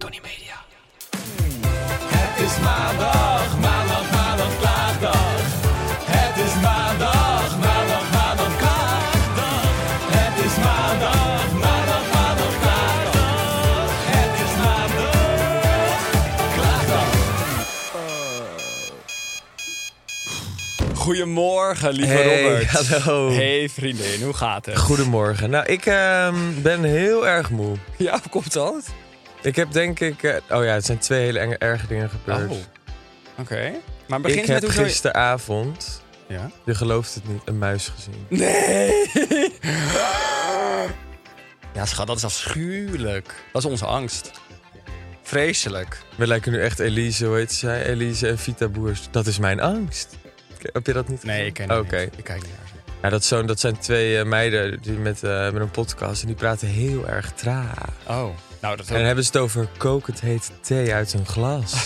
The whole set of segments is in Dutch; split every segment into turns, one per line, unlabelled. Tony Media. Het is maandag, maandag, maandag, klaagdag. Het is maandag, maandag, maandag, klaagdag. Het is maandag, maandag, maandag, klaagdag. Het is maandag, klaagdag.
Goedemorgen, lieve
Hey,
Robert.
hallo.
Hey, vriendin, hoe gaat het?
Goedemorgen. Nou, ik ehm, ben heel erg moe.
Ja, hoe komt dat?
Ik heb denk ik... eh, oh ja, het zijn twee hele enge, erge dingen gebeurd.
Oh. Oké. Maar begin
ik
eens
heb
met hoe... zou je-
gisteravond,
Ja?
je gelooft het niet, een muis gezien.
Nee! Ja, schat, dat is afschuwelijk. Dat is onze angst. Vreselijk.
We lijken nu echt Elise, hoe heet zij? Elise en Vita Boers. Dat is mijn angst. K- Heb je dat niet
Nee,
gezien?
ik ken het
Oké.
niet. Ik kijk niet naar ze.
Ja, dat, zo, dat zijn twee eh, meiden die met, eh, met een podcast en die praten heel erg traag.
Oh. Nou, dat
En dan hebben ze het over kokend heet thee uit een glas.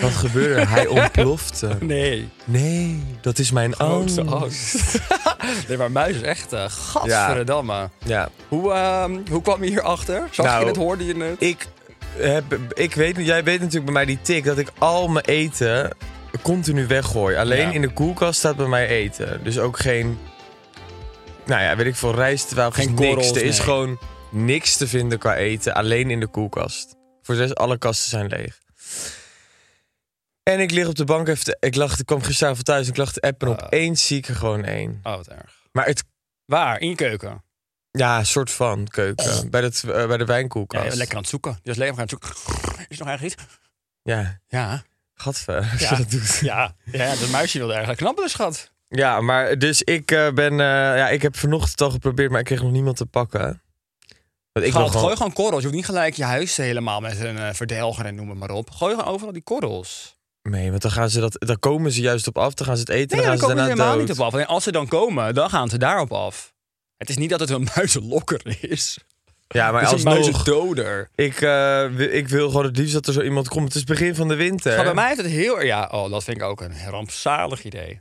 Wat gebeurde? er? Hij ontplofte.
Nee.
Nee, dat is mijn angst.
Grootste angst. nee, maar muis is echt... eh gadverdamme.
Ja,
Hoe, ehm, hoe kwam je hierachter? Zag
Nou,
je het? Hoorde je het?
ik, heb, ik weet, niet- jij weet natuurlijk bij mij die tik dat ik al mijn eten continu weggooi. Alleen
Ja.
in de koelkast staat bij mij eten. Dus ook geen, nou ja, weet ik veel, rijst,
Geen
niks.
korrels,
Er is
nee.
gewoon niks te vinden qua eten, alleen in de koelkast. Voor zes, alle kasten zijn leeg. En ik lig op de bank even, te- ik, lag, ik kwam gisteravond thuis en ik lag te appen en
Ah.
opeens zie ik er gewoon één.
Oh, wat erg.
Maar het,
Waar? In je keuken? ja
ja, een soort van keuken. Bij, dat, eh, bij de
je
wijnkoelkast.
bent lekker aan het zoeken. Je was lekker aan het zoeken. Is er nog ergens iets?
Ja,
Ja.
Gadver, als
Ja.
je dat doet. Ja,
Ja. Ja, dat muisje wilde eigenlijk knabbelen, schat.
maar dus ik eh, ben... eh, ja, ik heb vanochtend al geprobeerd, maar ik kreeg nog niemand te pakken. Want
Schat,
ik wil gewoon...
gooi gewoon korrels. Je hoeft niet gelijk je huis helemaal met een eh, verdelger en noem het maar op. Gooi gewoon overal die korrels.
Nee, want dan, gaan ze dat, dan komen ze juist op af. Dan gaan ze het eten
Nee, ja,
dan
dan
gaan
komen ze
ze daarna
helemaal
dood.
niet op af. Alleen als ze dan komen, dan gaan ze daarop af. Het is niet dat het een muizenlokker is.
Ja, maar
het is een
alsnog...
muizendoder.
Ik, eh, wi- ik wil gewoon het liefst dat er zo iemand komt. Het is begin van de winter.
Schat, bij mij is het heel... Ja, oh, dat vind ik ook een rampzalig idee.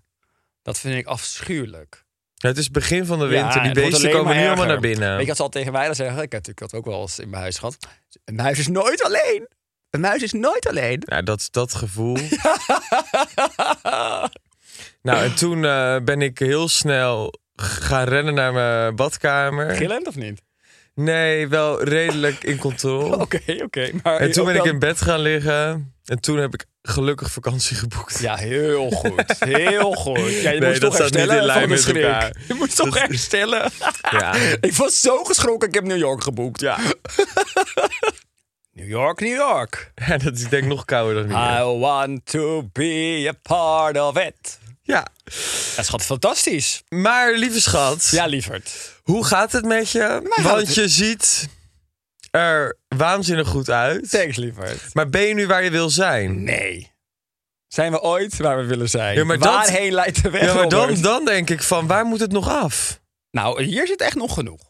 Dat vind ik afschuwelijk.
Ja, het is begin van de
Ja,
winter. Die
het wordt
beesten
alleen
komen nu
maar
allemaal naar
erger.
binnen.
Weet je wat ze al tegen mij zeggen? Ik heb natuurlijk dat ook wel eens in mijn huis gehad. Een muis is nooit alleen. Een muis is nooit alleen.
Nou, dat, dat gevoel. nou, en toen eh, ben ik heel snel g- gaan rennen naar mijn badkamer.
Gillend of niet?
Nee, wel redelijk in controle.
Oké, oké. maar
En toen ben
ook
ik
dan-
in bed gaan liggen. En toen heb ik gelukkig vakantie geboekt.
Ja, heel goed. Heel goed. Ja, je
Nee,
moest
dat
toch
staat niet
herstellen
in lijn
van de
met
schrik.
elkaar.
Je moest toch herstellen.
Ja.
ik was zo geschrokken. Ik heb New York geboekt. Ja. New York, New York.
Ja, dat is denk ik nog kouder dan
I
hier.
want to be a part of it.
Ja.
Dat schat, fantastisch.
Maar lieve schat,
Ja, lieverd.
hoe gaat het met je?
gaat
Want
het-
je ziet er waanzinnig goed uit.
Thanks, lieverd.
Maar ben je nu waar je wil zijn?
Nee. Zijn we ooit waar we willen zijn?
Ja, maar dat-
Waarheen leidt de weg,
Ja, maar dan,
Robert?
dan denk ik van, waar moet het nog af?
Nou, hier zit echt nog genoeg.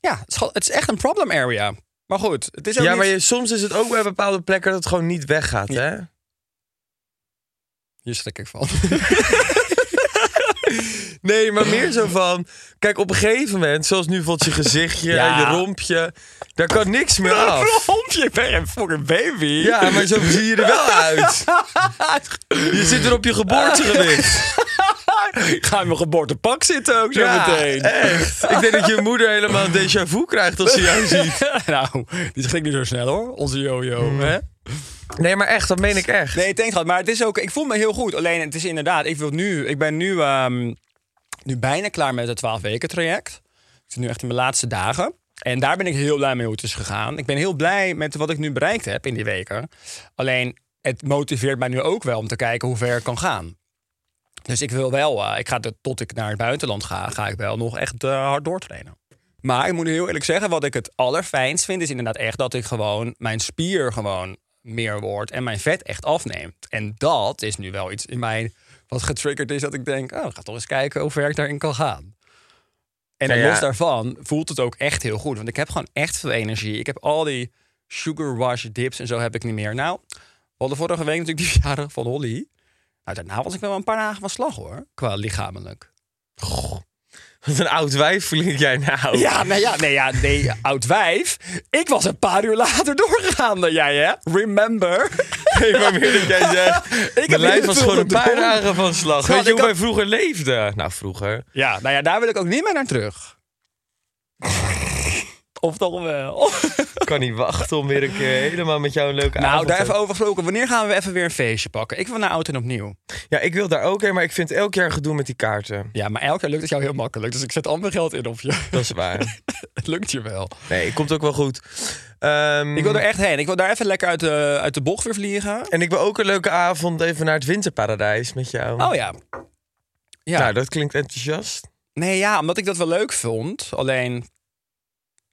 Ja, schat, het is echt een problem area. Maar goed, het is ook
Ja,
niet...
maar je, soms is het ook bij bepaalde plekken dat het gewoon niet weggaat, hè?
Hier schrik ik van.
Nee, maar meer zo van... Kijk, op een gegeven moment, zoals nu valt je gezichtje
Ja.
en je rompje... Daar kan niks meer af.
Waarom? Je bent een fucking baby.
Ja, maar zo zie je er wel uit. Je zit er op je geboortegewicht.
Ga in mijn geboortepak zitten ook zo meteen.
echt. Ik denk dat je moeder helemaal een déjà vu krijgt als ze jou ziet.
nou, die schrikt niet zo snel hoor, onze jojo.
Mm.
Hè?
Nee, maar echt, dat meen ik echt.
Nee, thanks gehad. Maar het is ook, ik voel me heel goed. Alleen het is inderdaad, ik, wil nu, ik ben nu, ehm, nu bijna klaar met het 12 weken traject. Ik zit nu echt in mijn laatste dagen. En daar ben ik heel blij mee hoe het is gegaan. Ik ben heel blij met wat ik nu bereikt heb in die weken. Alleen het motiveert mij nu ook wel om te kijken hoe ver ik kan gaan. Dus ik wil wel, eh, ik ga de, tot ik naar het buitenland ga, ga ik wel nog echt eh, hard doortrainen. Maar ik moet heel eerlijk zeggen, wat ik het allerfijnst vind, is inderdaad echt dat ik gewoon mijn spier gewoon meer wordt en mijn vet echt afneemt. En dat is nu wel iets in mij wat getriggerd is dat ik denk, oh, ik ga toch eens kijken hoe ver ik daarin kan gaan. En
Nou
dan
ja.
los daarvan voelt het ook echt heel goed, want ik heb gewoon echt veel energie. Ik heb al die sugar rush dips en zo heb ik niet meer. Nou, we hadden vorige week natuurlijk die verjaardag van Holly. Nou, daarna was ik wel een paar dagen van slag hoor, qua lichamelijk.
Wat een oud wijf flink jij nou.
Ja, nou ja, nee, ja, nee, oud wijf. Ik was een paar uur later doorgegaan dan jij, hè? Remember?
Nee, maar meer dat jij zegt.
heb
mijn lijf
heel
was
veel
gewoon een paar
gedronken.
dagen van slag.
Schat,
Weet je
ik
hoe wij
had-
vroeger leefden? Nou, vroeger.
Ja, nou ja, daar wil ik ook niet meer naar terug. Of toch wel?
Ik kan niet wachten om weer een keer helemaal met jou een leuke
nou,
avond
daar
te
even over gesproken. Wanneer gaan we even weer een feestje pakken? Ik wil naar oud en opnieuw.
Ja, ik wil daar ook heen, maar ik vind elk jaar gedoe met die kaarten.
Ja, maar elk jaar lukt het jou heel makkelijk. Dus ik zet al mijn geld in op je.
Dat is waar.
het lukt je wel.
Nee, het komt ook wel goed. Ehm,
Ik wil er echt heen. Ik wil daar even lekker uit de, uit de bocht weer vliegen.
En ik wil ook een leuke avond even naar het winterparadijs met jou.
Oh ja. Ja.
Nou, dat klinkt enthousiast.
Nee, ja, omdat ik dat wel leuk vond. Alleen,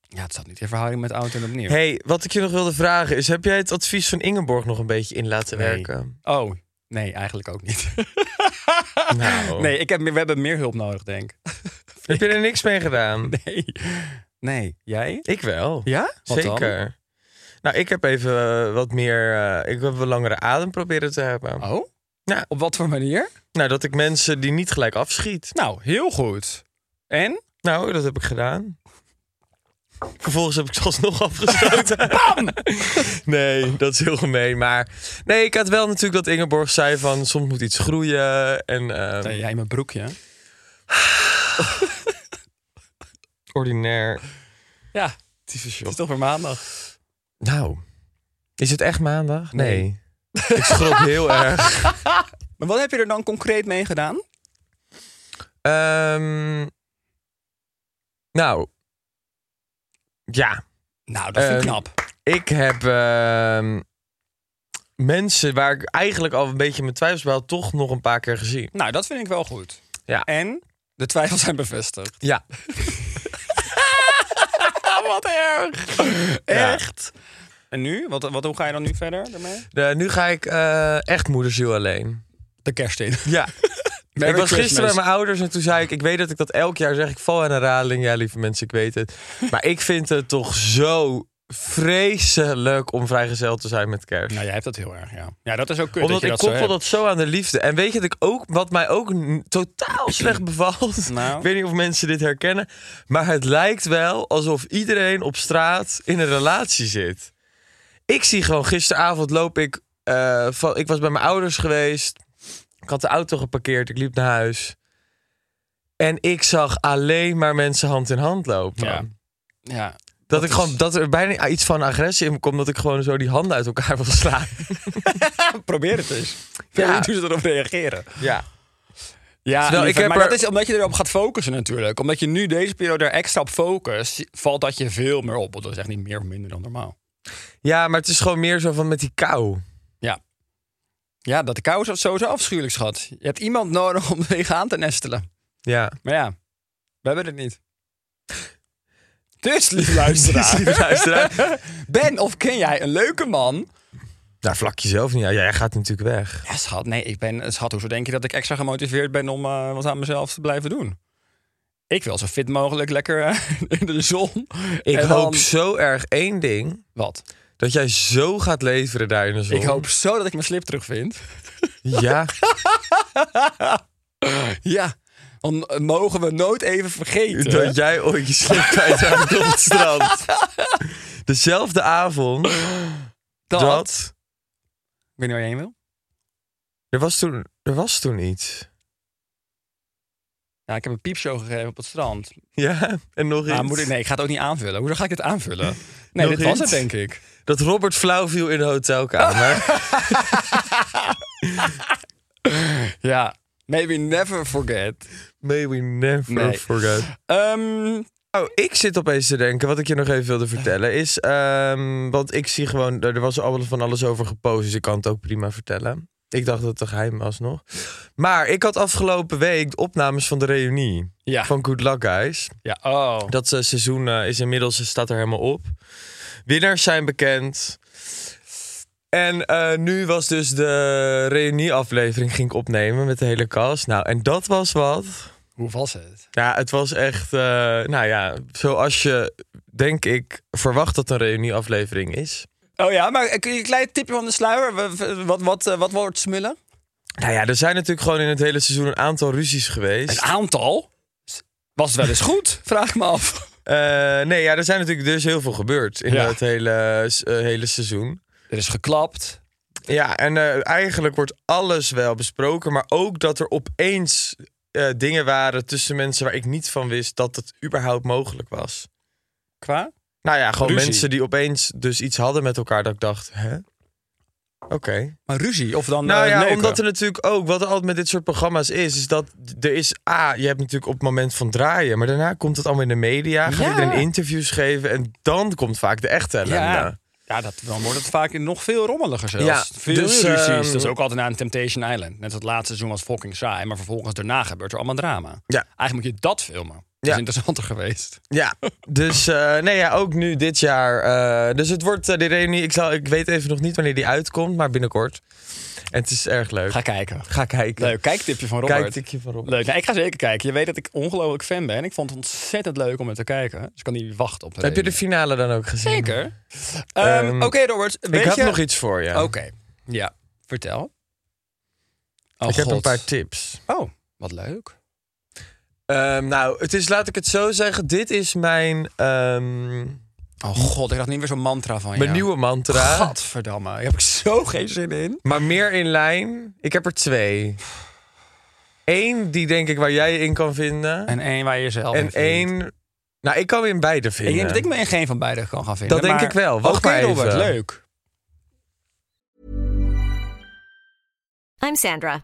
ja, het zat niet in verhouding met oud en opnieuw.
hey, wat ik je nog wilde vragen is... heb jij het advies van Ingeborg nog een beetje in laten
Nee.
werken?
Oh, nee, eigenlijk ook niet.
Nou.
Nee, ik heb meer, we hebben meer hulp nodig, denk ik.
Heb je er niks mee gedaan?
Nee. Nee, jij?
Ik wel.
Ja? Wat dan?
Zeker. Nou, ik heb even eh, wat meer... eh, ik heb een langere adem proberen te hebben.
Oh?
Ja.
Op wat voor manier?
Nou, dat ik mensen die niet gelijk afschiet.
Nou, heel goed. En?
Nou, dat heb ik gedaan. Vervolgens heb ik ze alsnog afgeschoten. Nee, dat is heel gemeen. Maar nee, ik had wel natuurlijk dat Ingeborg zei van... soms moet iets groeien en eh,
Nee, jij in mijn broekje.
ordinair.
Ja, het
Tyfus, joh.
is toch weer maandag.
Nou, is het echt maandag?
Nee.
ik schrok heel erg.
Maar wat heb je er dan concreet mee gedaan?
Ehm, nou, ja.
Nou, dat vind ik
Ehm,
knap.
Ik heb ehm, mensen waar ik eigenlijk al een beetje mijn twijfels bij had... toch nog een paar keer gezien.
Nou, dat vind ik wel goed.
Ja.
En? De twijfels zijn bevestigd.
Ja.
Ah, wat erg.
Ja.
Echt? En nu? Wat, wat, hoe ga je dan nu verder daarmee?
Eh, nu ga ik eh, echt moederziel alleen.
De kerst in.
Ja.
Merry
ik was gisteren
Christmas.
bij mijn ouders en toen zei ik... ik weet dat ik dat elk jaar zeg. Ik val aan een herhaling. Ja, lieve mensen, ik weet het. Maar ik vind het toch zo vreselijk om vrijgezel te zijn met kerst.
Nou, jij hebt dat heel erg, ja. Ja, dat is ook kut
Omdat
dat je
ik
dat zo
koppel
hebt.
dat zo aan de liefde. En weet je dat ik ook, wat mij ook n- totaal slecht bevalt.
Nou.
Ik weet niet of mensen dit herkennen. Maar het lijkt wel alsof iedereen op straat in een relatie zit. Ik zie gewoon gisteravond loop ik. eh, van, ik was bij mijn ouders geweest. Ik had de auto geparkeerd. Ik liep naar huis. En ik zag alleen maar mensen hand in hand lopen.
Ja. Ja.
Dat, ik gewoon, dat er bijna iets van agressie in me komt. Dat ik gewoon zo die handen uit elkaar wil slaan.
Probeer het eens.
Ja.
Ja. Hoe ze erop reageren.
Ja.
Ja,
Terwijl
lieverd,
ik heb
maar
er-
dat is omdat je erop gaat focussen natuurlijk. Omdat je nu deze periode er extra op focust, valt dat je veel meer op. Want dat is echt niet meer of minder dan normaal.
Ja, maar het is gewoon meer zo van met die kou.
Ja. Ja, dat de kou is dat sowieso afschuwelijk, schat. Je hebt iemand nodig om tegen aan te nestelen.
Ja.
Maar ja, we hebben het niet. Dus, lieve luisteraar,
Lieve luisteraar.
ben of ken jij een leuke man
Daar vlak je zelf niet aan. Ja, jij gaat natuurlijk weg.
Ja, schat, nee, ik ben... Schat, hoezo denk je dat ik extra gemotiveerd ben om eh, wat aan mezelf te blijven doen? Ik wil zo fit mogelijk lekker eh, in de zon.
Ik
En
hoop
dan-
zo erg één ding.
Wat?
Dat jij zo gaat leveren daar in de zon.
Ik hoop zo dat ik mijn slip terugvind.
Ja.
Ja, dan eh, mogen we nooit even vergeten.
dat jij ooit je slip kwijt raakt op het strand. Dezelfde avond
dat...
dat...
Ik weet niet waar je heen wil.
Er was toen, er was toen iets.
Ja, ik heb een piepshow gegeven op het strand.
Ja, en nog iets.
Maar Nou, moet ik, nee, ik ga het ook niet aanvullen. Hoe ga ik dit aanvullen? Nee,
Nog
dit was
iets?
het, denk ik.
Dat Robert flauw viel in de hotelkamer.
Ja, maybe never forget.
May we never
Nee.
forget.
Ehm,
Nou, ik zit opeens te denken, wat ik je nog even wilde vertellen, is... ehm, want ik zie gewoon, er er was allemaal van alles over gepost, dus ik kan het ook prima vertellen. Ik dacht dat het een geheim was nog. Maar ik had afgelopen week de opnames van de reunie
Ja.
van Good Luck Guys.
ja, oh.
Dat eh, seizoen eh, is inmiddels, eh, staat er helemaal op. Winnaars zijn bekend. En eh, nu was dus de reunieaflevering ging ik opnemen met de hele cast. Nou, en dat was wat...
Hoe was het?
Ja, het was echt, eh, nou ja, zoals je, denk ik, verwacht dat een reunieaflevering is.
Oh ja, maar eh, kun je een klein tipje van de sluier? Wat, wat, wat, eh, wat wordt smullen?
Nou ja, er zijn natuurlijk gewoon in het hele seizoen een aantal ruzies geweest.
Een aantal? Was het wel eens goed? Vraag ik me af.
Eh, nee, ja, er zijn natuurlijk dus heel veel gebeurd in
Ja.
het hele, s- eh, hele seizoen.
Er is geklapt.
Ja, en eh, eigenlijk wordt alles wel besproken, maar ook dat er opeens eh, dingen waren tussen mensen waar ik niet van wist dat het überhaupt mogelijk was.
Qua?
Nou ja, gewoon
Ruzie.
mensen die opeens dus iets hadden met elkaar dat ik dacht, hè? Oké.
Maar ruzie? Of dan
Nou
eh,
ja,
neuken?
omdat er natuurlijk ook, wat er altijd met dit soort programma's is, is dat er is, ah, je hebt natuurlijk op het moment van draaien, maar daarna komt het allemaal in de media, gaat
Ja.
iedereen interviews geven en dan komt vaak de echte ellende.
Ja. Ja, dat, dan wordt het vaak nog veel rommeliger zelfs.
Ja,
veel
dus,
ruzies.
ehm,
dat is ook altijd na een Temptation Island. Net als het laatste seizoen was fucking saai, maar vervolgens daarna gebeurt er allemaal drama.
Ja.
Eigenlijk moet je dat filmen. Dat
Ja.
is interessanter geweest.
Ja, dus eh, nee, ja, ook nu dit jaar. eh, dus het wordt eh, de reunie, ik, zal, ik weet even nog niet wanneer die uitkomt, maar binnenkort. En het is erg leuk.
Ga kijken.
Ga kijken.
Leuk, kijktipje van Robert.
Kijktipje van Robert.
Leuk. Nou, ik ga zeker kijken. Je weet dat ik ongelooflijk fan ben. Ik vond het ontzettend leuk om het te kijken. Dus ik kan niet wachten op de
Heb je de
reunie.
finale dan ook gezien?
Zeker. Ehm,
Ehm,
Oké, Robert. weet
Ik had
je-
nog iets voor je.
Oké. Ja, vertel. Oh,
ik heb een
God.
paar tips.
Oh, wat leuk.
Ehm, nou, het is, laat ik het zo zeggen, dit is mijn, ehm,
Oh god, ik had niet weer zo'n mantra van je.
mijn nieuwe mantra.
Gadverdamme, daar heb ik zo geen zin in.
Maar meer in lijn. Ik heb er twee. Eén die denk ik waar jij je in kan vinden. En,
En één waar je jezelf in vindt.
één... Nou, ik kan me in beide vinden.
Ik denk dat ik me in geen van beide kan gaan vinden.
Dat denk
maar- Oh,
ik wel. Wacht
Oké,
maar even.
Robert, leuk.
I'm Sandra,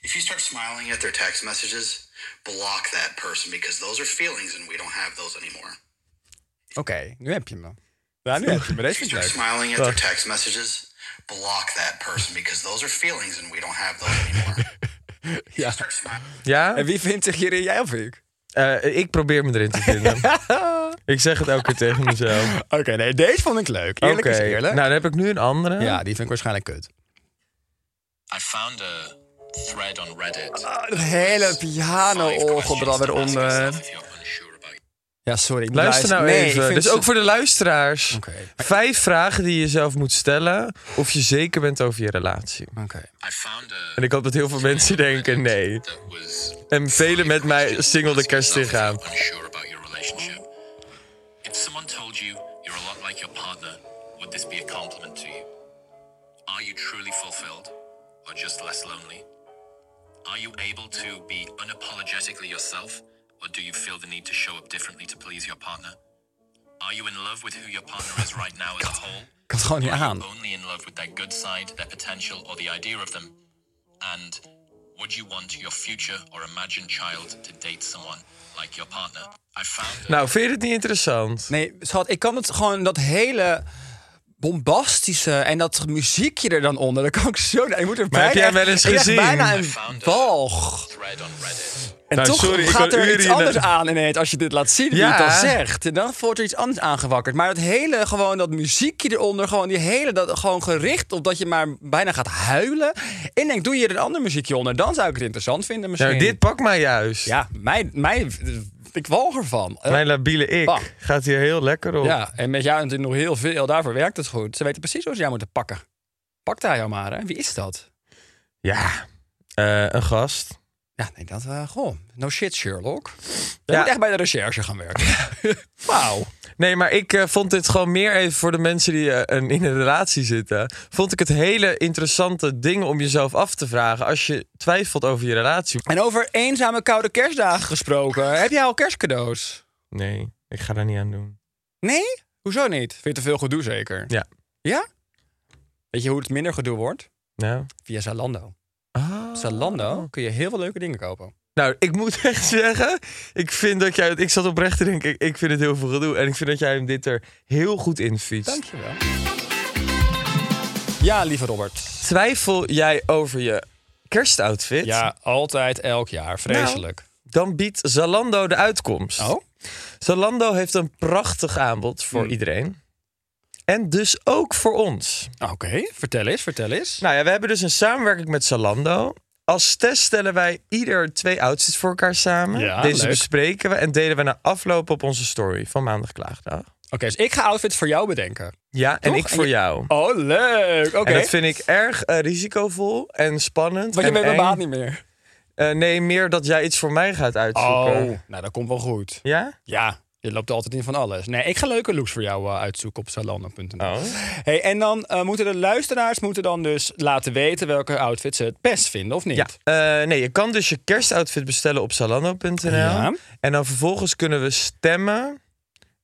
If you start smiling at their text messages, block that person because those are feelings and we don't have those anymore.
Oké, nu heb je me. Ja, nu heb je me. Deze
If you
vind ik
start
leuk.
smiling at their text messages, block that person because those are feelings and we don't have those anymore.
Ja.
Start smiling.
Ja?
En wie vindt zich hierin, jij of ik?
Eh, ik probeer me erin te vinden. ik zeg het elke keer tegen mezelf.
Oké, nee, deze vond ik leuk. Eerlijk
Oké.
is eerlijk.
Nou, dan heb ik nu een andere.
ja, die vind ik waarschijnlijk kut.
I found a thread on Reddit.
Een Ah, hele
Oh,
piano orgelbrad
eh.
eronder.
If you're unsure about
Ja, sorry. ik moet
Luister nou
luisteren. Nee, ik
even.
vind
Dus
ze-
ook voor de luisteraars.
Oké.
Vijf vragen die je jezelf moet stellen of je zeker bent over je relatie.
Oké.
I found a
En ik hoop dat heel veel mensen denken nee.
that was
En velen met mij singelde kerst
if you're
tegenaan.
unsure about your relationship. If someone told you you're a lot like your partner, would this be a compliment to you? Are you truly fulfilled or just less lonely? Are you able to be unapologetically yourself or do you feel the need to show up differently to please your partner? Are you in love with who your partner is right now as a whole?
Ik had het gewoon niet
Are you
aan.
only in love with their good side, their potential, or the idea of them? And would you want your future or imagined child to date someone like your partner? I found. a-
Nou, vind je het niet interessant?
Nee, schat, ik kan het gewoon dat hele bombastische en dat muziekje er dan onder. Dat kan ik zo. Je moet er
Maar
bijna
heb jij wel eens
echt- echt
gezien?
Bijna
I
een
found
walg.
a thread on Reddit.
En
Nou,
toch
sorry, ik
gaat
kan
er
uren
iets
in
anders
het-
aan ineens als je dit laat zien, wie
Ja.
het dan zegt. En dan wordt er iets anders aangewakkerd. Maar dat hele, gewoon dat muziekje eronder, gewoon die hele, dat, gewoon gericht op dat je maar bijna gaat huilen. En denk, doe je er een ander muziekje onder, dan zou ik het interessant vinden misschien.
Nou, dit pakt mij juist.
Ja, mijn, mijn, ik walg ervan. Eh,
Mijn labiele ik
Bah.
gaat hier heel lekker op.
ja, en met jou natuurlijk nog heel veel, daarvoor werkt het goed. Ze weten precies hoe ze jou moeten pakken. Pakt hij jou maar, hè? Wie is dat?
Ja, eh, een gast.
Ja, nee, dat, eh goh, no shit Sherlock. Je
Ja.
moet echt bij de recherche gaan werken. Wauw.
Nee, maar ik eh, vond dit gewoon meer even voor de mensen die eh, een, in een relatie zitten. Vond ik het hele interessante ding om jezelf af te vragen als je twijfelt over je relatie.
En over eenzame koude kerstdagen gesproken. Heb jij al kerstcadeaus?
Nee, ik ga daar niet aan doen.
Nee? Hoezo niet? Vind je te veel gedoe zeker?
Ja.
Ja? Weet je hoe het minder gedoe wordt?
Nou.
Via Zalando. Op Zalando kun je heel veel leuke dingen kopen.
Ah. Nou, ik moet echt zeggen, ik vind dat jij, ik zat oprecht te denken, ik, ik vind het heel veel gedoe. En ik vind dat jij hem dit er heel goed in fietst.
Dankjewel. Ja, lieve Robert.
Twijfel jij over je kerstoutfit? Nou,
Ja, altijd elk jaar. Vreselijk.
Dan biedt Zalando de uitkomst.
Oh? Hmm.
Zalando heeft een prachtig aanbod voor iedereen. En dus ook voor ons.
Oh, Oké, vertel eens, vertel eens.
Nou ja, we hebben dus een samenwerking met Zalando. Als test stellen wij ieder twee outfits voor elkaar samen.
Ja,
Deze
leuk.
bespreken we en delen we na afloop op onze story van maandag klaagdag.
Oké, dus ik ga outfits voor jou bedenken.
Ja, en
Toch?
ik voor
je-
jou.
Oh, leuk. Oké.
En dat vind ik erg eh, risicovol en spannend.
Want je
en
bent mijn
eng.
baat niet meer.
Eh, nee, meer dat jij iets voor mij gaat uitzoeken.
Nou, dat komt wel goed.
Ja?
Ja, je loopt altijd in van alles. Nee, ik ga leuke looks voor jou eh, uitzoeken op salona.nl.
Oh.
Hey, en dan eh, moeten de luisteraars moeten dan dus laten weten welke outfits ze het best vinden, of niet?
Ja. Eh, nee, je kan dus je kerstoutfit bestellen op Zalando.nl.
Ja.
En dan vervolgens kunnen we stemmen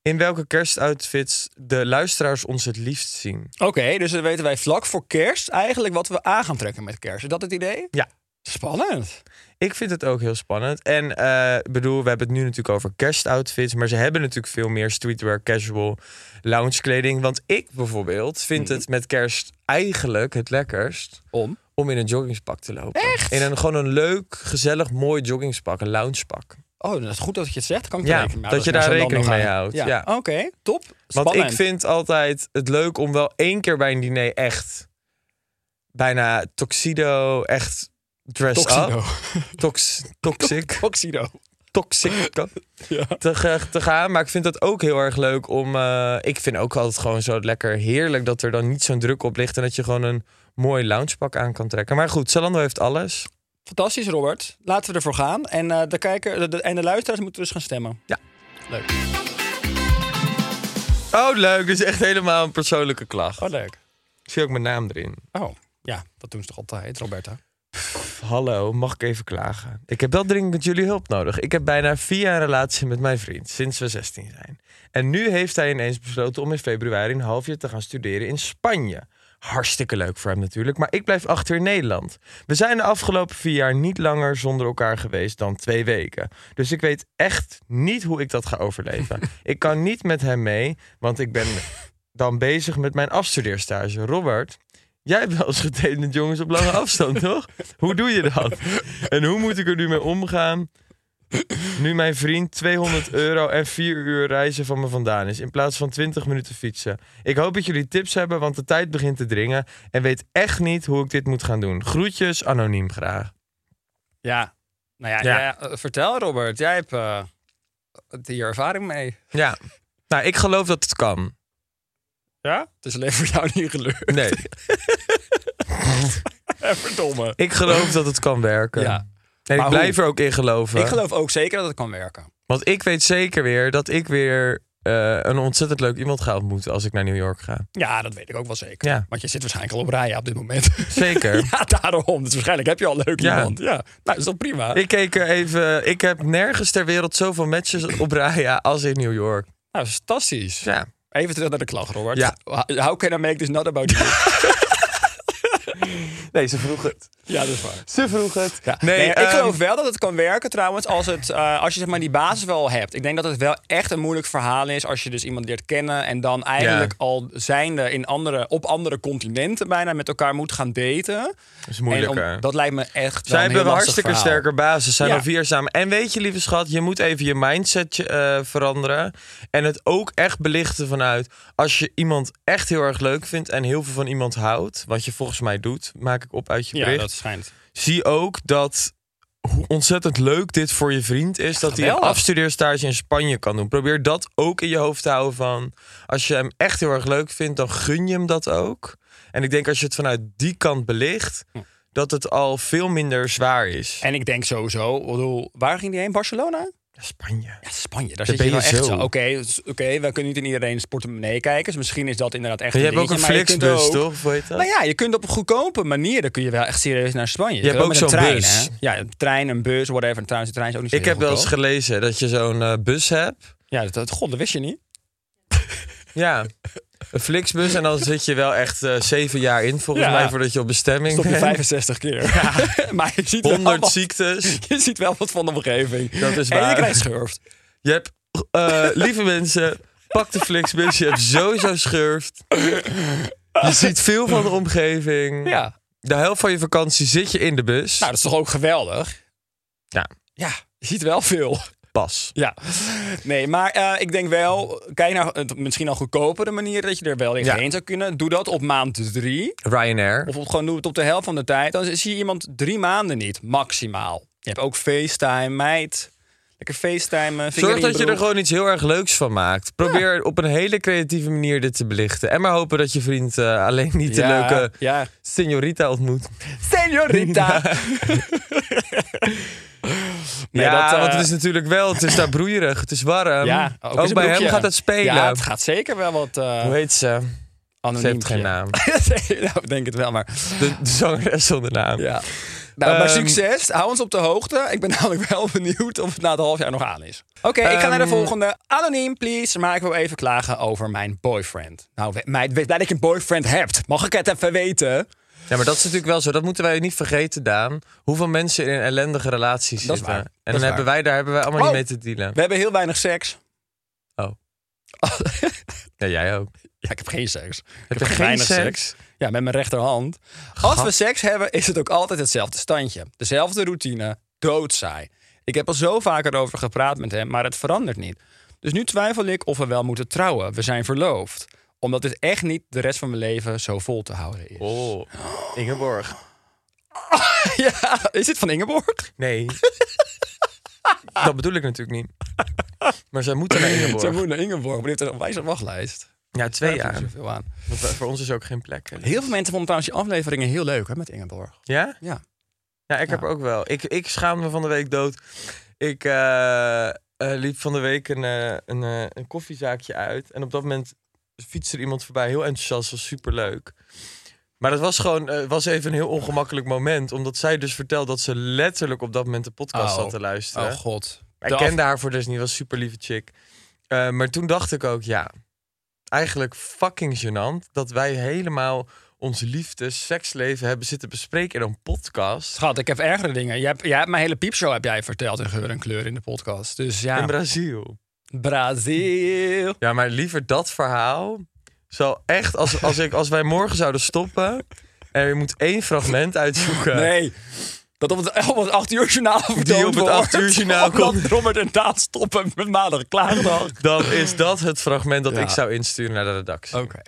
in welke kerstoutfits de luisteraars ons het liefst zien.
Oké, dus dan weten wij vlak voor kerst eigenlijk wat we aan gaan trekken met kerst. Is dat het idee?
Ja.
Spannend.
Ik vind het ook heel spannend. En eh, ik bedoel, we hebben het nu natuurlijk over kerstoutfits. Maar ze hebben natuurlijk veel meer streetwear, casual, loungekleding. Want ik bijvoorbeeld vind
Mhm.
het met kerst eigenlijk het lekkerst
Om.
om in een joggingspak te lopen. In een gewoon een leuk, gezellig, mooi joggingspak, een loungepak.
Oh, dat is goed dat je het zegt. Kan ik
Ja,
rekenen.
dat je
is
daar
naar Zalando
rekening mee
gaan.
houdt.
Ja.
Ja.
Oké, top. Spannend.
Want ik vind altijd het leuk om wel één keer bij een diner echt bijna tuxedo, echt dress
Toxido.
up, tox, toxic,
Toxido.
toxic
Ja.
te, ge- te gaan. Maar ik vind dat ook heel erg leuk om. eh, ik vind ook altijd gewoon zo lekker heerlijk dat er dan niet zo'n druk op ligt en dat je gewoon een mooi loungepak aan kan trekken. Maar goed, Zalando heeft alles.
Fantastisch, Robert. Laten we ervoor gaan. En, eh, de, kijker, de, de- en de luisteraars moeten dus gaan stemmen.
Ja.
Leuk.
Oh, leuk. Dit is echt helemaal een persoonlijke klacht.
Oh, leuk.
Ik zie ook mijn naam erin.
Oh, ja. Dat doen ze toch altijd, Roberta?
Hallo, mag ik even klagen? Ik heb wel dringend jullie hulp nodig. Ik heb bijna vier jaar een relatie met mijn vriend, sinds we 16 zijn. En nu heeft hij ineens besloten om in februari een half jaar te gaan studeren in Spanje. Hartstikke leuk voor hem natuurlijk, maar ik blijf achter in Nederland. We zijn de afgelopen vier jaar niet langer zonder elkaar geweest dan twee weken. Dus ik weet echt niet hoe ik dat ga overleven. ik kan niet met hem mee, want ik ben dan bezig met mijn afstudeerstage. Robert, Jij hebt wel eens gedate met jongens op lange afstand, toch? Hoe doe je dat? En hoe moet ik er nu mee omgaan? Nu mijn vriend 200 euro en 4 uur reizen van me vandaan is, in plaats van 20 minuten fietsen. Ik hoop dat jullie tips hebben, want de tijd begint te dringen en weet echt niet hoe ik dit moet gaan doen. Groetjes, anoniem graag.
Ja. Nou ja,
Ja.
ja, eh, vertel Robert. Jij hebt eh, hier ervaring mee.
Ja, nou, ik geloof dat het kan.
Ja? Het is alleen voor jou niet gelukt.
Nee,
Verdomme.
ik geloof dat het kan werken.
Ja. Maar
En ik
hoe?
blijf er ook in geloven.
Ik geloof ook zeker dat het kan werken.
Want ik weet zeker weer dat ik weer eh, een ontzettend leuk iemand ga ontmoeten als ik naar New York ga.
Ja, dat weet ik ook wel zeker.
Ja.
Want je zit waarschijnlijk al op rijen op dit moment.
Zeker.
ja, daarom. Dus waarschijnlijk heb je al leuk
Ja.
iemand. Ja. Nou, dat is toch prima?
Ik keek er even. Ik heb nergens ter wereld zoveel matches op Raya als in New York.
Nou, dat is fantastisch.
Ja.
Even terug naar de klacht, Robert.
Ja.
How can I make this not about you?
Nee, ze vroeg het.
Ja, dat is waar.
Ze vroeg het.
Ja.
Nee,
Nee, ik
ehm,
geloof wel dat het kan werken trouwens als, het, eh, als je zeg maar, die basis wel hebt. Ik denk dat het wel echt een moeilijk verhaal is als je dus iemand leert kennen en dan eigenlijk
Ja.
al zijnde in andere, op andere continenten bijna met elkaar moet gaan daten. Dat
is moeilijker.
dat lijkt me echt.
Zij hebben
een
een
heel lastig
hartstikke
verhaal.
sterke basis. Zijn
Ja.
al vier samen. En weet je, lieve schat, je moet even je mindset eh, veranderen. En het ook echt belichten vanuit. Als je iemand echt heel erg leuk vindt en heel veel van iemand houdt. Wat je volgens mij doet, maak ik op uit je
Ja,
bericht.
dat schijnt.
Zie ook dat hoe ontzettend leuk dit voor je vriend is. Dat hij een
geweldig.
afstudeerstage in Spanje kan doen. Probeer dat ook in je hoofd te houden van... als je hem echt heel erg leuk vindt, dan gun je hem dat ook. En ik denk als je het vanuit die kant belicht...
Hm.
dat het al veel minder zwaar is.
En ik denk sowieso, ik bedoel, waar ging die heen? Barcelona?
Spanje.
Ja, Spanje, daar
Daar
zit je
ben
wel
je
echt zo.
zo.
Oké, dus- oké, we kunnen niet in iedereen portemonnee kijken. Dus misschien is dat inderdaad echt
je
een
hebt ook een
dingetje, maar je kunt
Flixbus,
ook-
toch? Of hoe heet dat?
Nou ja, je kunt op een goedkope manier, dan kun je wel echt serieus naar Spanje. Je,
hebt
kunt
ook
met een
zo'n
trein,
bus.
hè? Ja, een trein, een bus, whatever. En Trouwens, de trein is ook niet zo
ik
heel
heb wel eens
goedkoop.
gelezen dat je zo'n eh, bus hebt.
Ja, dat, dat, god, dat wist je niet.
Ja. Een Flixbus en dan zit je wel echt eh, zeven jaar in, volgens
Ja.
mij, voordat je op bestemming
Stop je
bent.
65 keer. maar je ziet, wel
100
wat,
ziektes.
je ziet wel wat van de omgeving.
Dat is
En
waar.
je krijgt schurft. Nou,
Je hebt, eh, lieve mensen, pak de Flixbus. Je hebt sowieso schurft. Je ziet veel van de omgeving.
Ja.
De helft van je vakantie zit je in de bus.
Nou, dat is toch ook geweldig?
Ja.
Ja, je ziet wel veel.
Pas.
Ja, nee, maar eh, ik denk wel, kijk naar het misschien al goedkopere manier dat je er wel in
Ja.
heen zou kunnen. Doe dat op maand drie.
Ryanair.
Of op- gewoon doe het op de helft van de tijd. Dan zie je iemand drie maanden niet, maximaal. Je hebt ook FaceTime, meid. Lekker FaceTime.
Zorg dat je er gewoon iets heel erg leuks van maakt. Probeer op een hele creatieve manier dit te belichten. En maar hopen dat je vriend eh, alleen niet de leuke
Ja.
señorita ontmoet.
Senorita! Nee,
ja,
dat, eh,
want het is natuurlijk wel, het is daar broeierig, het is warm.
ja,
ook
in zijn
bij hem
broekje.
gaat het spelen.
Ja, het gaat zeker wel wat eh
Hoe heet ze?
anoniem.
Ze heeft geen naam.
nee, nou, ik denk het wel, maar...
De, de zangeres zonder naam.
Ja. Nou, maar
Ehm,
succes. Hou ons op de hoogte. Ik ben namelijk wel benieuwd of het na het half jaar nog aan is. Oké, ik ga naar de
Ehm,
volgende. Anoniem, please. Maar ik wil even klagen over mijn boyfriend. Nou, we- meid, weet blij dat je een boyfriend hebt. Mag ik het even weten?
Ja, maar dat is natuurlijk wel zo. Dat moeten wij niet vergeten, Daan. Hoeveel mensen in een ellendige relatie
Dat
zitten.
is waar.
En
Dat
dan
is
hebben
waar.
wij, daar hebben wij allemaal
Oh.
niet mee te dealen.
We hebben heel weinig seks.
Oh. Ja, jij ook.
Ja, ik heb geen seks. ik
je
heb
geen seks?
Ja, met mijn rechterhand. Als we seks hebben, is het ook altijd hetzelfde standje. Dezelfde routine, doodzaai. Ik heb al zo vaak erover gepraat met hem, maar het verandert niet. Dus nu twijfel ik of we wel moeten trouwen. We zijn verloofd. Omdat dit echt niet de rest van mijn leven zo vol te houden is.
Oh, Ingeborg.
Ja, is dit van Ingeborg?
Nee. dat bedoel ik natuurlijk niet. Maar zij moeten naar Ingeborg.
Ze moet naar Ingeborg, maar die heeft een wijze wachtlijst.
Ja, twee jaar.
Zoveel aan.
Want we- voor ons is ook geen plek. hè.
Heel veel mensen vonden trouwens je afleveringen heel leuk hè, met Ingeborg.
Ja?
Ja.
Ja, ik heb ook wel. Ik, ik schaam me van de week dood. Ik eh, eh, liep van de week een, eh, een, eh, een koffiezaakje uit. En op dat moment fietste er iemand voorbij. Heel enthousiast, was superleuk. Maar dat was gewoon eh, was even een heel ongemakkelijk moment. Omdat zij dus vertelde dat ze letterlijk op dat moment de podcast
Oh.
zat te luisteren.
Oh god.
ik
De af-
kende haar voor dus niet, was super lieve chick. Eh, maar toen dacht ik ook, ja, eigenlijk fucking gênant dat wij helemaal ons liefde, seksleven hebben zitten bespreken in een podcast.
Schat, ik heb ergere dingen. Jij hebt, jij hebt mijn hele piepshow heb jij verteld in geur en kleur in de podcast. Dus ja,
In Brazil.
Brazil.
Ja, maar liever dat verhaal. Zo echt, als, als, ik, als wij morgen zouden stoppen. En je moet één fragment uitzoeken.
Nee, dat op het, op het 8 uur journaal vertoond
op het
wordt,
8 uur journaal
Omdat
komt.
Robert en Daan stoppen met maandag klaardag.
Dan is dat het fragment dat
Ja.
ik zou insturen naar de redactie.
Oké.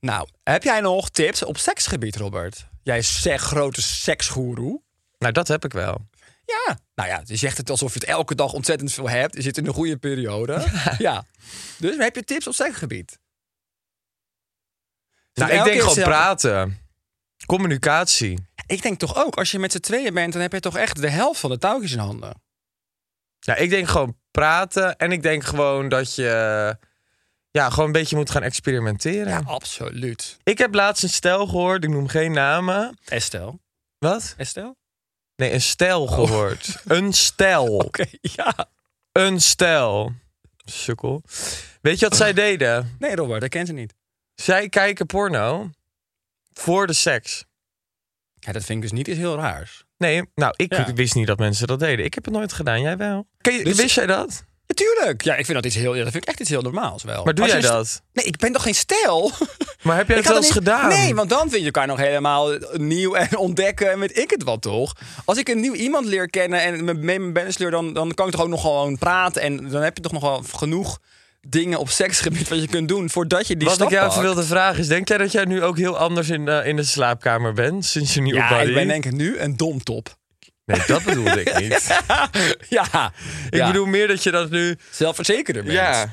Nou, heb jij nog tips op seksgebied, Robert? Jij is zeg grote seksgoeroe.
Nou, dat heb ik wel.
Ja. Nou ja, je zegt het alsof je het elke dag ontzettend veel hebt. Je zit in een goede periode. Ja. Dus heb je tips op seksgebied?
Nou, ik
elke
denk
keer
gewoon
hetzelfde?
praten. Communicatie.
Ik denk toch ook, als je met z'n tweeën bent, dan heb je toch echt de helft van de touwtjes in handen.
Ja, ik denk gewoon praten. En ik denk gewoon dat je. Ja, gewoon een beetje moet gaan experimenteren.
absoluut.
Ik heb laatst een stijl gehoord. Ik noem geen namen.
Estelle.
Wat?
Estelle?
Nee, een stijl gehoord. Een stijl.
Oké, ja.
Een stijl. Sukkel. Weet je wat zij deden?
Nee, Robert, dat kent ze niet.
Zij kijken porno voor de seks.
Ja, dat vind ik dus niet iets heel raars.
Nee, nou, ik
Ja.
wist niet dat mensen dat deden. Ik heb het nooit gedaan, jij wel. Ken je-
Dus-
wist jij dat?
Natuurlijk. Ja, ik vind dat iets heel. ja, dat vind ik echt iets heel normaals wel.
Maar doe
Als
jij
je een st-
dat?
Nee, ik ben toch geen stijl.
Maar heb jij
Ik
het wel
had
eens
niet-
gedaan?
Nee, want dan vind je elkaar nog helemaal nieuw en ontdekken en weet ik het wat toch. Als ik een nieuw iemand leer kennen en me- mee mijn bennis sleur, dan, dan kan ik toch ook nog gewoon praten. En dan heb je toch nog wel genoeg dingen op seksgebied wat je kunt doen voordat je die
Wat
stap
ik jou
pakt.
even wilde vragen is, denk jij dat jij nu ook heel anders in, eh, in de slaapkamer bent? Sinds je nu op
Ja,
Bali?
ik ben denk ik nu een domtop.
Nee, dat bedoelde ik niet.
ja,
Ik bedoel meer dat je dat nu...
zelfverzekerder bent.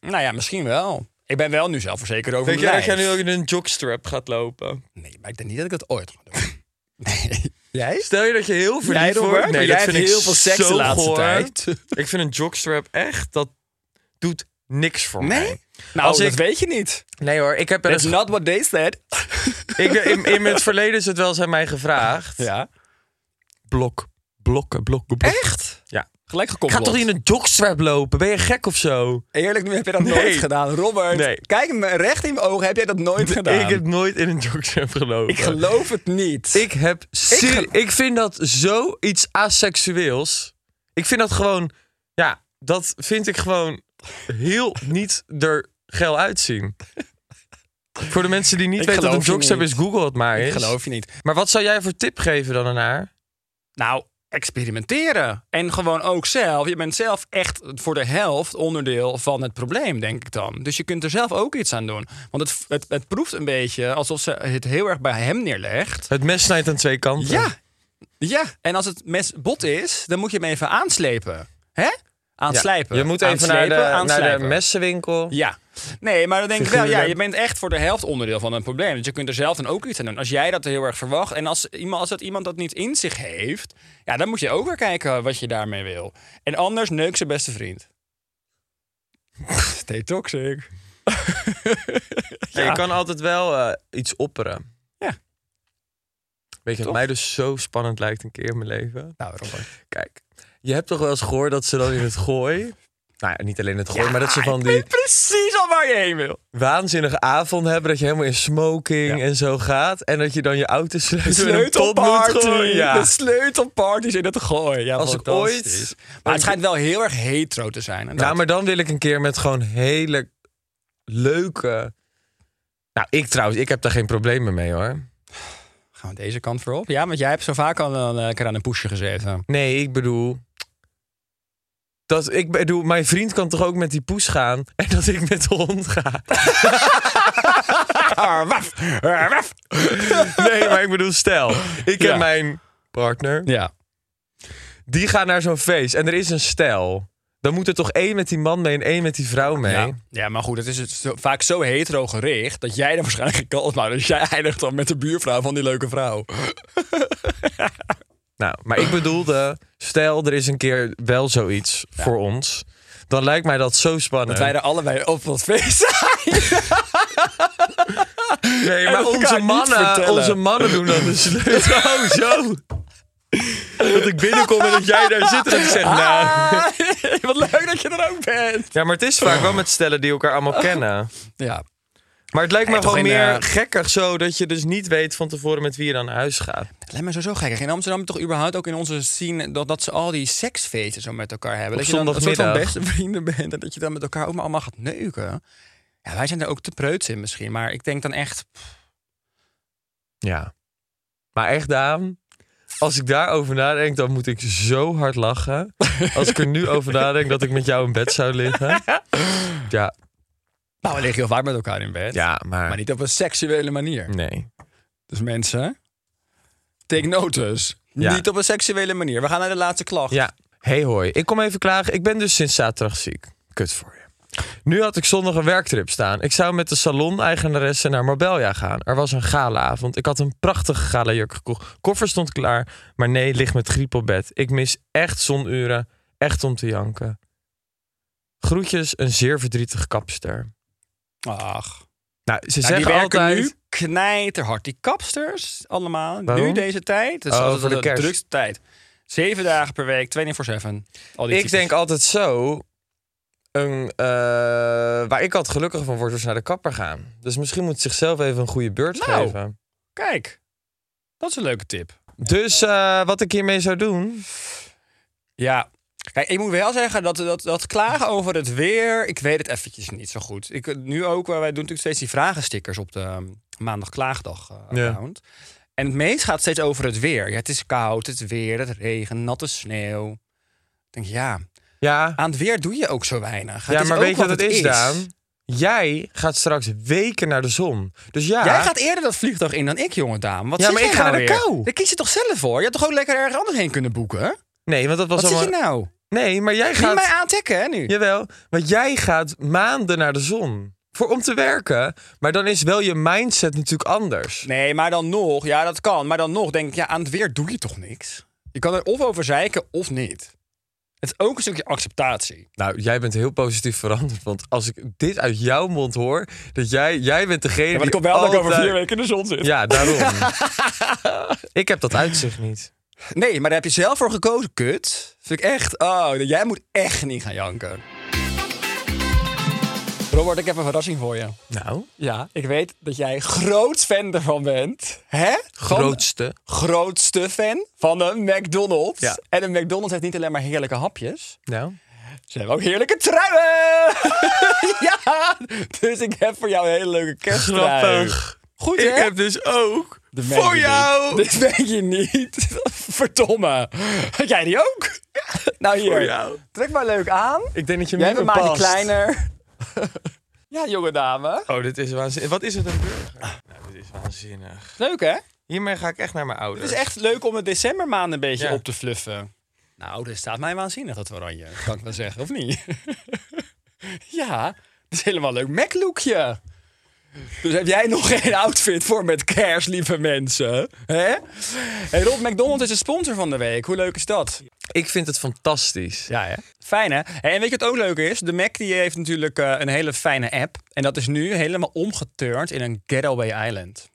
Nou ja, misschien wel. Ik ben wel nu zelfverzekerd over
Denk
mijn
jij dat jij
lijf.
nu ook in een jockstrap gaat lopen?
Nee, maar ik denk niet dat ik dat ooit ga doen. nee. Jij?
Stel je dat je heel verliefd
Jij, Robert?
wordt.
Want jij hebt heel veel seks de
zo
laatste
goor.
tijd.
Ik vind een jockstrap echt, dat doet niks voor mij.
Nee? Nou,
Als
dat
ik-
weet je niet.
Nee hoor, ik heb wel
That's
eens...
not what they said.
Ik, in, in het verleden is het wel eens aan mij gevraagd.
Ja.
Blok, blokken, blokken, blokken. Echt? Ja.
Gelijk
Ik ga
gekoppeld.
toch niet in een jockstrap lopen? Ben je gek of zo?
Eerlijk, nu heb je dat
Nee.
nooit gedaan. Robert,
Nee.
kijk me recht in mijn ogen. Heb jij dat nooit gedaan?
Ik heb nooit in een jockstrap gelopen.
Ik geloof het niet.
Ik heb. serie- Ik,
gel-
vind dat zoiets aseksueels. Ik vind dat gewoon. Ja, dat vind ik gewoon heel niet er geil uitzien. Voor de mensen die niet
Ik
weten wat een
geloof je
jockstrap
niet.
is, Google het maar
Ik
eens.
geloof je niet.
Maar wat zou jij voor tip geven dan aan haar?
Nou, experimenteren. En gewoon ook zelf. Je bent zelf echt voor de helft onderdeel van het probleem, denk ik dan. Dus je kunt er zelf ook iets aan doen. Want het, het, het proeft een beetje alsof ze het heel erg bij hem neerlegt.
Het mes snijdt aan twee kanten.
Ja. Ja, en als het mes bot is, dan moet je hem even aanslepen. Hè? Aanslijpen.
Je moet even naar de,
Aanslepen,
naar de
aanslijpen.
messenwinkel.
Ja. Nee, maar dan denk ik wel, ja,
Figuurlijk.
je bent echt voor de helft onderdeel van een probleem. Dus je kunt er zelf dan ook iets aan doen. Als jij dat heel erg verwacht en als, iemand, als dat iemand dat niet in zich heeft, ja, dan moet je ook weer kijken wat je daarmee wil. En anders neuk zijn beste vriend. Stay toxic.
Ja, Je kan altijd wel eh, iets opperen.
Ja.
Weet je wat
Toch?
mij dus zo spannend lijkt een keer in mijn leven?
Nou, Robert.
Kijk, je hebt toch wel eens gehoord dat ze dan in het gooi... Nou ja, niet alleen in het gooi, maar dat ze
Ah,
van
ik
die
weet precies al waar je heen wil.
waanzinnige avond hebben... dat je helemaal in smoking en zo gaat... en dat je dan je auto
De
sleutel in een pot moet
sleutelparty.
gooien.
De sleutelparties in het gooi. Ja,
Als ik
fantastisch.
ooit-
Maar het schijnt wel heel erg hetero te zijn. en
Nou,
dat-
maar dan wil ik een keer met gewoon hele leuke... Nou, ik trouwens, ik heb daar geen problemen mee hoor.
Gaan we deze kant voorop? Ja, want jij hebt zo vaak al een lekker aan een poesje gezeten.
Nee, ik bedoel. Dat, ik bedoel, mijn vriend kan toch ook met die poes gaan en dat ik met de hond ga.
Ah, waf, ah, waf.
Nee, maar ik bedoel, stel, ik
Ja.
en mijn partner,
Ja.
die gaan naar zo'n feest en er is een stel. Dan moet er toch één met die man mee en één met die vrouw mee.
Ja. ja, maar goed, het is het zo- vaak zo hetero gericht dat jij er waarschijnlijk een kans maakt. Dus jij eindigt dan met de buurvrouw van die leuke vrouw.
Nou, maar ik bedoelde, stel er is een keer wel zoiets voor ons. Dan lijkt mij dat zo spannend.
Dat wij er allebei op dat feest zijn.
nee,
en
maar
elkaar
onze
niet
mannen,
vertellen.
onze mannen doen dan de sleutel. Oh, zo. Dat ik binnenkom en dat jij daar zit en dat ik zeg, nou...
Ah, wat leuk dat je er ook bent.
Ja, maar het is vaak wel met stellen die elkaar allemaal kennen.
Ja.
Maar het lijkt me
Nee, toch
gewoon
in,
meer
eh,
gekkig zo dat je dus niet weet van tevoren met wie je dan naar huis gaat.
Het lijkt me sowieso gek. In Amsterdam toch überhaupt ook in onze scene dat, dat ze al die seksfeesten zo met elkaar hebben.
Op
dat je dan een soort van
zondagmiddag.
beste vrienden bent en dat je dan met elkaar ook maar allemaal gaat neuken. Ja, wij zijn er ook te preuts in misschien, maar ik denk dan echt...
Ja. Maar echt, Daan, als ik daarover nadenk, dan moet ik zo hard lachen. Als ik er nu over nadenk dat ik met jou in bed zou liggen. Ja,
Nou, we liggen heel vaak met elkaar in bed.
ja Mm. maar...
Maar niet op een seksuele manier.
Nee.
Dus mensen, take notice.
Ja.
Niet op een seksuele manier. We gaan naar de laatste klacht.
Ja. Hey hoi, ik kom even klagen. Ik ben dus sinds zaterdag ziek. Kut voor je. Nu had ik zondag een werktrip staan. Ik zou met de salon-eigenaresse naar Marbella gaan. Er was een galaavond. Ik had een prachtige galajurk gekocht. Koffer stond klaar, maar nee, ligt met griep op bed. Ik mis echt zonuren. Echt om te janken. Groetjes, een zeer verdrietig kapster.
Ach.
Nou, ze
Nou, die
zeggen
werken
altijd...
nu knijterhard. Die kapsters allemaal. Nu
Waarom?
deze tijd. Dus Dat is
Oh,
altijd
voor de
de,
kerst.
drukste tijd. Zeven dagen per week, 24-7. Al die
Ik
types.
denk altijd zo. Een, eh, waar ik altijd gelukkig van word, is naar de kapper gaan. Dus misschien moet het zichzelf even een goede beurt
Nou.
geven.
Kijk, Dat is een leuke tip.
Dus eh, wat ik hiermee zou doen.
Ja. Kijk, ik moet wel zeggen dat, dat, dat klagen over het weer, ik weet het eventjes niet zo goed. Ik, nu ook, eh, wij doen natuurlijk steeds die vragenstickers op de ehm, maandag klaagdag eh,
Ja.
account. En het meest gaat steeds over het weer. Ja, het is koud, het weer, het regen, natte sneeuw. Ik denk, ja,
Ja,
aan het weer doe je ook zo weinig. Ah, Het
ja
is
maar
ook
weet je wat het is,
Daan?
Daan? Jij gaat straks weken naar de zon. Dus ja.
Jij gaat eerder dat vliegtuig in dan ik, jonge dame. Wat
Ja,
zit
maar
jij
ik ga
nou
naar
weer?
kou.
Daar kies je toch zelf voor? Je had toch ook lekker ergens anders heen kunnen boeken?
Nee, want dat was
Wat zit
allemaal.
je nou?
Nee, maar jij
Ga
gaat.
mij aantikken, hè, nu?
Jawel, want jij gaat maanden naar de zon. Voor om te werken. Maar dan is wel je mindset natuurlijk anders.
Nee, maar dan nog, ja, dat kan. Maar dan nog denk ik, ja, aan het weer doe je toch niks? Je kan er of over zeiken of niet. Het is ook een stukje acceptatie.
Nou, jij bent heel positief veranderd. Want als ik dit uit jouw mond hoor, dat jij, jij bent degene.
Ja, maar ik
die
kom wel dat ik over
altijd-
vier weken in de zon zit.
Ja, daarom. ik heb dat uitzicht niet.
Nee, maar daar heb je zelf voor gekozen, kut. Vind ik echt, oh, jij moet echt niet gaan janken. Robert, ik heb een verrassing voor je.
Nou,
Ja, ik weet dat jij groot fan ervan bent. Hè? Van-
grootste.
Grootste fan van een McDonald's.
Ja.
En een McDonald's heeft niet alleen maar heerlijke hapjes.
Nou.
Ze hebben ook heerlijke truien! ja! Dus ik heb voor jou een hele leuke kersttrui.
Grappig.
Goed, hè?
Ik heb dus ook
Dat weet
voor
je
jou.
Niet. Dit weet je niet. Verdomme. Had jij die ook? nou hier,
Voor jou.
trek maar leuk aan.
Ik denk dat je
Jij
meer
bent maar die
past.
kleiner. ja, jonge dame.
Oh, dit is waanzinnig. Wat is het een burger? Nou, dit is waanzinnig.
Leuk, hè?
Hiermee ga ik echt naar mijn ouders.
Het is echt leuk om het decembermaand een beetje
Ja.
op te fluffen. Nou, dit staat mij waanzinnig, dat oranje. Kan ik wel zeggen, of niet? ja, dat is helemaal een leuk Mac-lookje. Dus heb jij nog geen outfit voor met kerst, lieve mensen? Hè? Hey, Rob, McDonald's is de sponsor van de week. Hoe leuk is dat?
Ik vind het fantastisch.
Ja, hè? Fijn, hè? Hey, En weet je wat ook leuk is? De Mac die heeft natuurlijk eh, een hele fijne app. En dat is nu helemaal omgeturnd in een getaway island.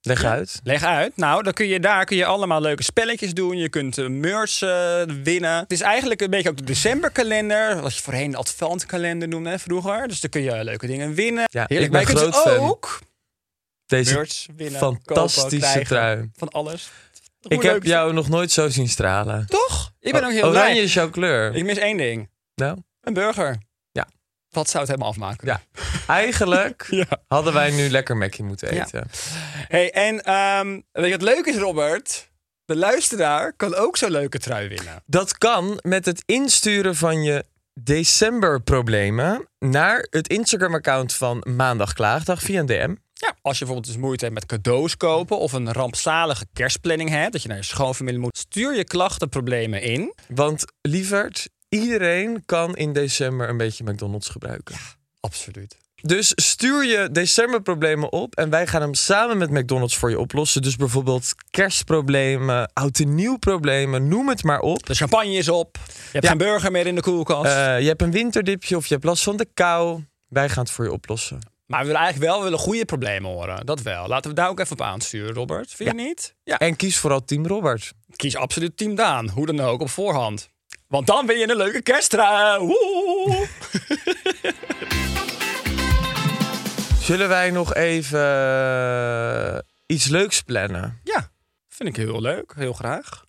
Leg uit.
Leg uit. Nou, dan kun je, daar kun je allemaal leuke spelletjes doen. Je kunt eh, merch eh, winnen. Het is eigenlijk een beetje ook de decemberkalender. Wat je voorheen de adventkalender noemde hè, vroeger. Dus dan kun je leuke dingen winnen.
Ja,
Heerlijk.
ik
Maar
ben
je kunt
groot fan.
ook
Deze
merch winnen. kopen,
fantastische
krijgen,
trui.
Van alles. Hoe
Ik
leuk
heb
is
jou nog nooit zo zien stralen.
dat? Toch? Ik ben ook heel
Oranje
blij.
is jouw kleur.
Ik mis één ding.
Nou,
Een burger.
Ja.
Wat zou het helemaal afmaken?
ja. Eigenlijk
Ja.
hadden wij nu lekker Mackie moeten
Ja.
eten.
Hey, en ehm, weet je wat leuk is, Robert? De luisteraar kan ook zo'n leuke trui winnen.
Dat kan met het insturen van je decemberproblemen naar het Instagram-account van Maandag Klaagdag via een DM.
Ja, als je bijvoorbeeld dus moeite hebt met cadeaus kopen of een rampzalige kerstplanning hebt, dat je naar je schoonfamilie moet, stuur je klachtenproblemen in.
Want lieverd, iedereen kan in december een beetje McDonald's gebruiken.
Absoluut.
Dus stuur je decemberproblemen op en wij gaan hem samen met McDonald's voor je oplossen. Dus bijvoorbeeld kerstproblemen, oud en nieuw problemen, noem het maar op.
De champagne is op. Je hebt
Ja.
geen burger meer in de koelkast.
Eh, je hebt een winterdipje of je hebt last van de kou. Wij gaan het voor je oplossen.
maar we willen eigenlijk wel we willen goede problemen horen. Dat wel. Laten we daar ook even op aansturen, Robert. Vind je niet? Ja.
En kies vooral Team Robert.
Kies absoluut Team Daan. Hoe dan ook, op voorhand. Want dan win je een leuke kersttrui. Woe!
Zullen wij nog even eh, iets leuks plannen?
ja, vind ik heel leuk. Heel graag.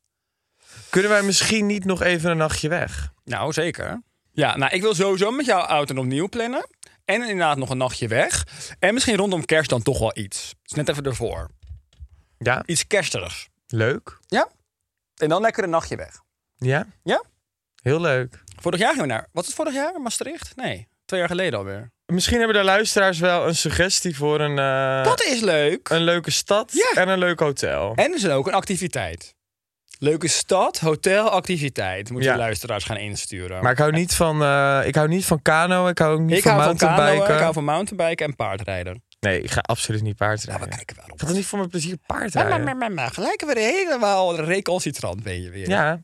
Kunnen wij misschien niet nog even een nachtje weg?
Nou, zeker. Ja, nou, ik wil sowieso met jou oud en opnieuw plannen. En inderdaad nog een nachtje weg. En misschien rondom kerst dan toch wel iets. Dus net even ervoor.
Ja,
Iets kerstigs.
leuk.
Ja? En dan lekker een nachtje weg.
Ja,
Ja?
heel leuk.
Vorig jaar gingen we naar... Wat is vorig jaar? Maastricht? Nee, twee jaar geleden alweer.
Misschien hebben de luisteraars wel een suggestie voor een, eh,
Dat is leuk.
een leuke stad
Ja.
en een leuk hotel.
En er is ook een activiteit. Leuke stad, hotel, activiteit. Moet je
Ja.
de luisteraars gaan insturen.
Maar ik hou niet van, eh, ik hou niet van kano, ik hou ook niet
ik
van
hou van kanoën,
mountainbiken.
ik hou van mountainbiken en paardrijden.
Nee, ik ga absoluut niet
Nou, we
paardrijden.
kijken wel
ik
op.
ga toch niet voor mijn plezier
Maar,
paardrijden?
maar, maar, maar, gelijk weer helemaal recalcitrant ben je weer.
Ja,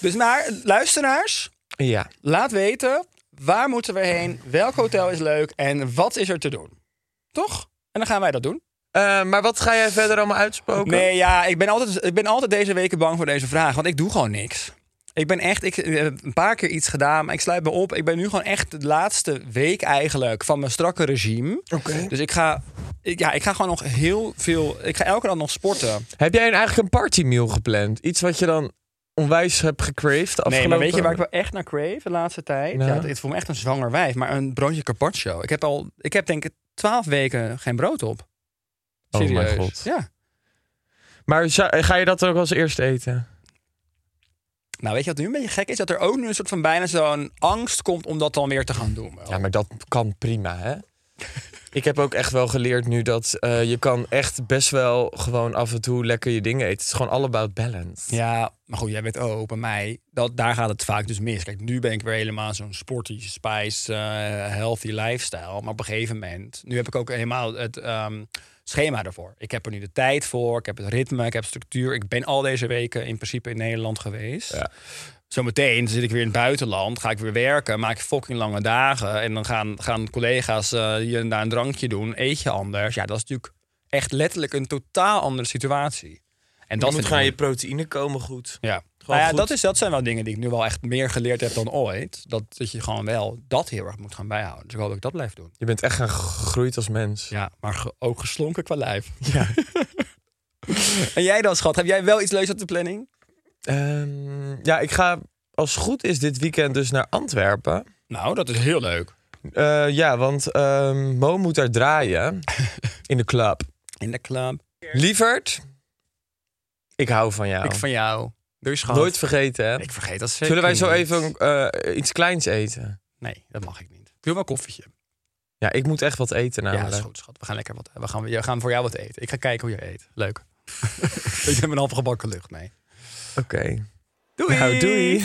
Dus maar, luisteraars,
ja.
laat weten waar moeten we heen, welk hotel is leuk en wat is er te doen. Toch? En dan gaan wij dat doen.
Eh, maar wat ga jij verder allemaal uitspoken?
Nee, ja, ik ben, altijd, ik ben altijd deze weken bang voor deze vraag, want ik doe gewoon niks. Ik ben echt, ik heb een paar keer iets gedaan, maar ik sluit me op. Ik ben nu gewoon echt de laatste week eigenlijk van mijn strakke regime.
Oké.
Dus ik ga ik- ja, ik ga gewoon nog heel veel... Ik ga elke dag nog sporten.
Heb jij een- eigenlijk een partymeal gepland? Iets wat je dan onwijs hebt gecraved de afgelopen...
Nee, maar weet je waar ik wel echt naar crave de laatste tijd?
Nou?
Ja, het, het voelt me echt een zwanger wijf, maar een broodje carpaccio. Ik heb al, ik heb denk ik twaalf weken geen brood op.
Oh mijn
Serieus.
god.
Ja.
Maar zou- ga je dat ook als eerst eten?
Nou, weet je wat nu een beetje gek is? Dat er ook nu een soort van bijna zo'n angst komt om dat dan weer te gaan doen.
Ja, maar dat kan prima, hè? ik heb ook echt wel geleerd nu dat eh, je kan echt best wel gewoon af en toe lekker je dingen eten. Het is gewoon all about balance.
Ja, maar goed, jij weet ook bij mij, dat, daar gaat het vaak dus mis. Kijk, nu ben ik weer helemaal zo'n sporty, spice, eh, healthy lifestyle. Maar op een gegeven moment, nu heb ik ook helemaal het ehm, schema ervoor. Ik heb er nu de tijd voor, ik heb het ritme, ik heb structuur. Ik ben al deze weken in principe in Nederland geweest. Zometeen zit ik weer in het buitenland, ga ik weer werken, maak ik fucking lange dagen. En dan gaan, gaan collega's eh, hier en daar een drankje doen, eet je anders. Ja, dat is natuurlijk echt letterlijk een totaal andere situatie. En
Dan
dat
moet
vind ik
gaan
moeilijk.
je proteïne komen goed.
Ja.
Gewoon
Nou ja
goed.
dat, is, dat zijn wel dingen die ik nu wel echt meer geleerd heb dan ooit. Dat, dat je gewoon wel dat heel erg moet gaan bijhouden. Dus ik hoop dat ik dat blijf doen.
Je bent echt gaan gegroeid als mens.
Ja, maar ge- ook geslonken qua lijf. Ja. en jij dan, schat? Heb jij wel iets leuks op de planning?
Ehm, ja, ik ga als het goed is dit weekend dus naar Antwerpen.
Nou, dat is heel leuk.
Eh, ja, want ehm, Mo moet daar draaien in de club.
In de club.
Lievert, ik hou van jou.
Ik van jou. Doe je schat.
Oh. Nooit vergeten, hè?
Ik vergeet dat zeker
Zullen wij zo
niet.
even eh, iets kleins eten?
Nee, dat mag ik niet. Ik wil wel koffietje.
Ja, ik moet echt wat eten
Ja,
namelijk.
dat is goed, schat. We gaan lekker wat... We gaan, we gaan voor jou wat eten. Ik ga kijken hoe je eet. Leuk. ik heb een half gebakken lucht mee.
Oké.
Doei!
Nou, doei.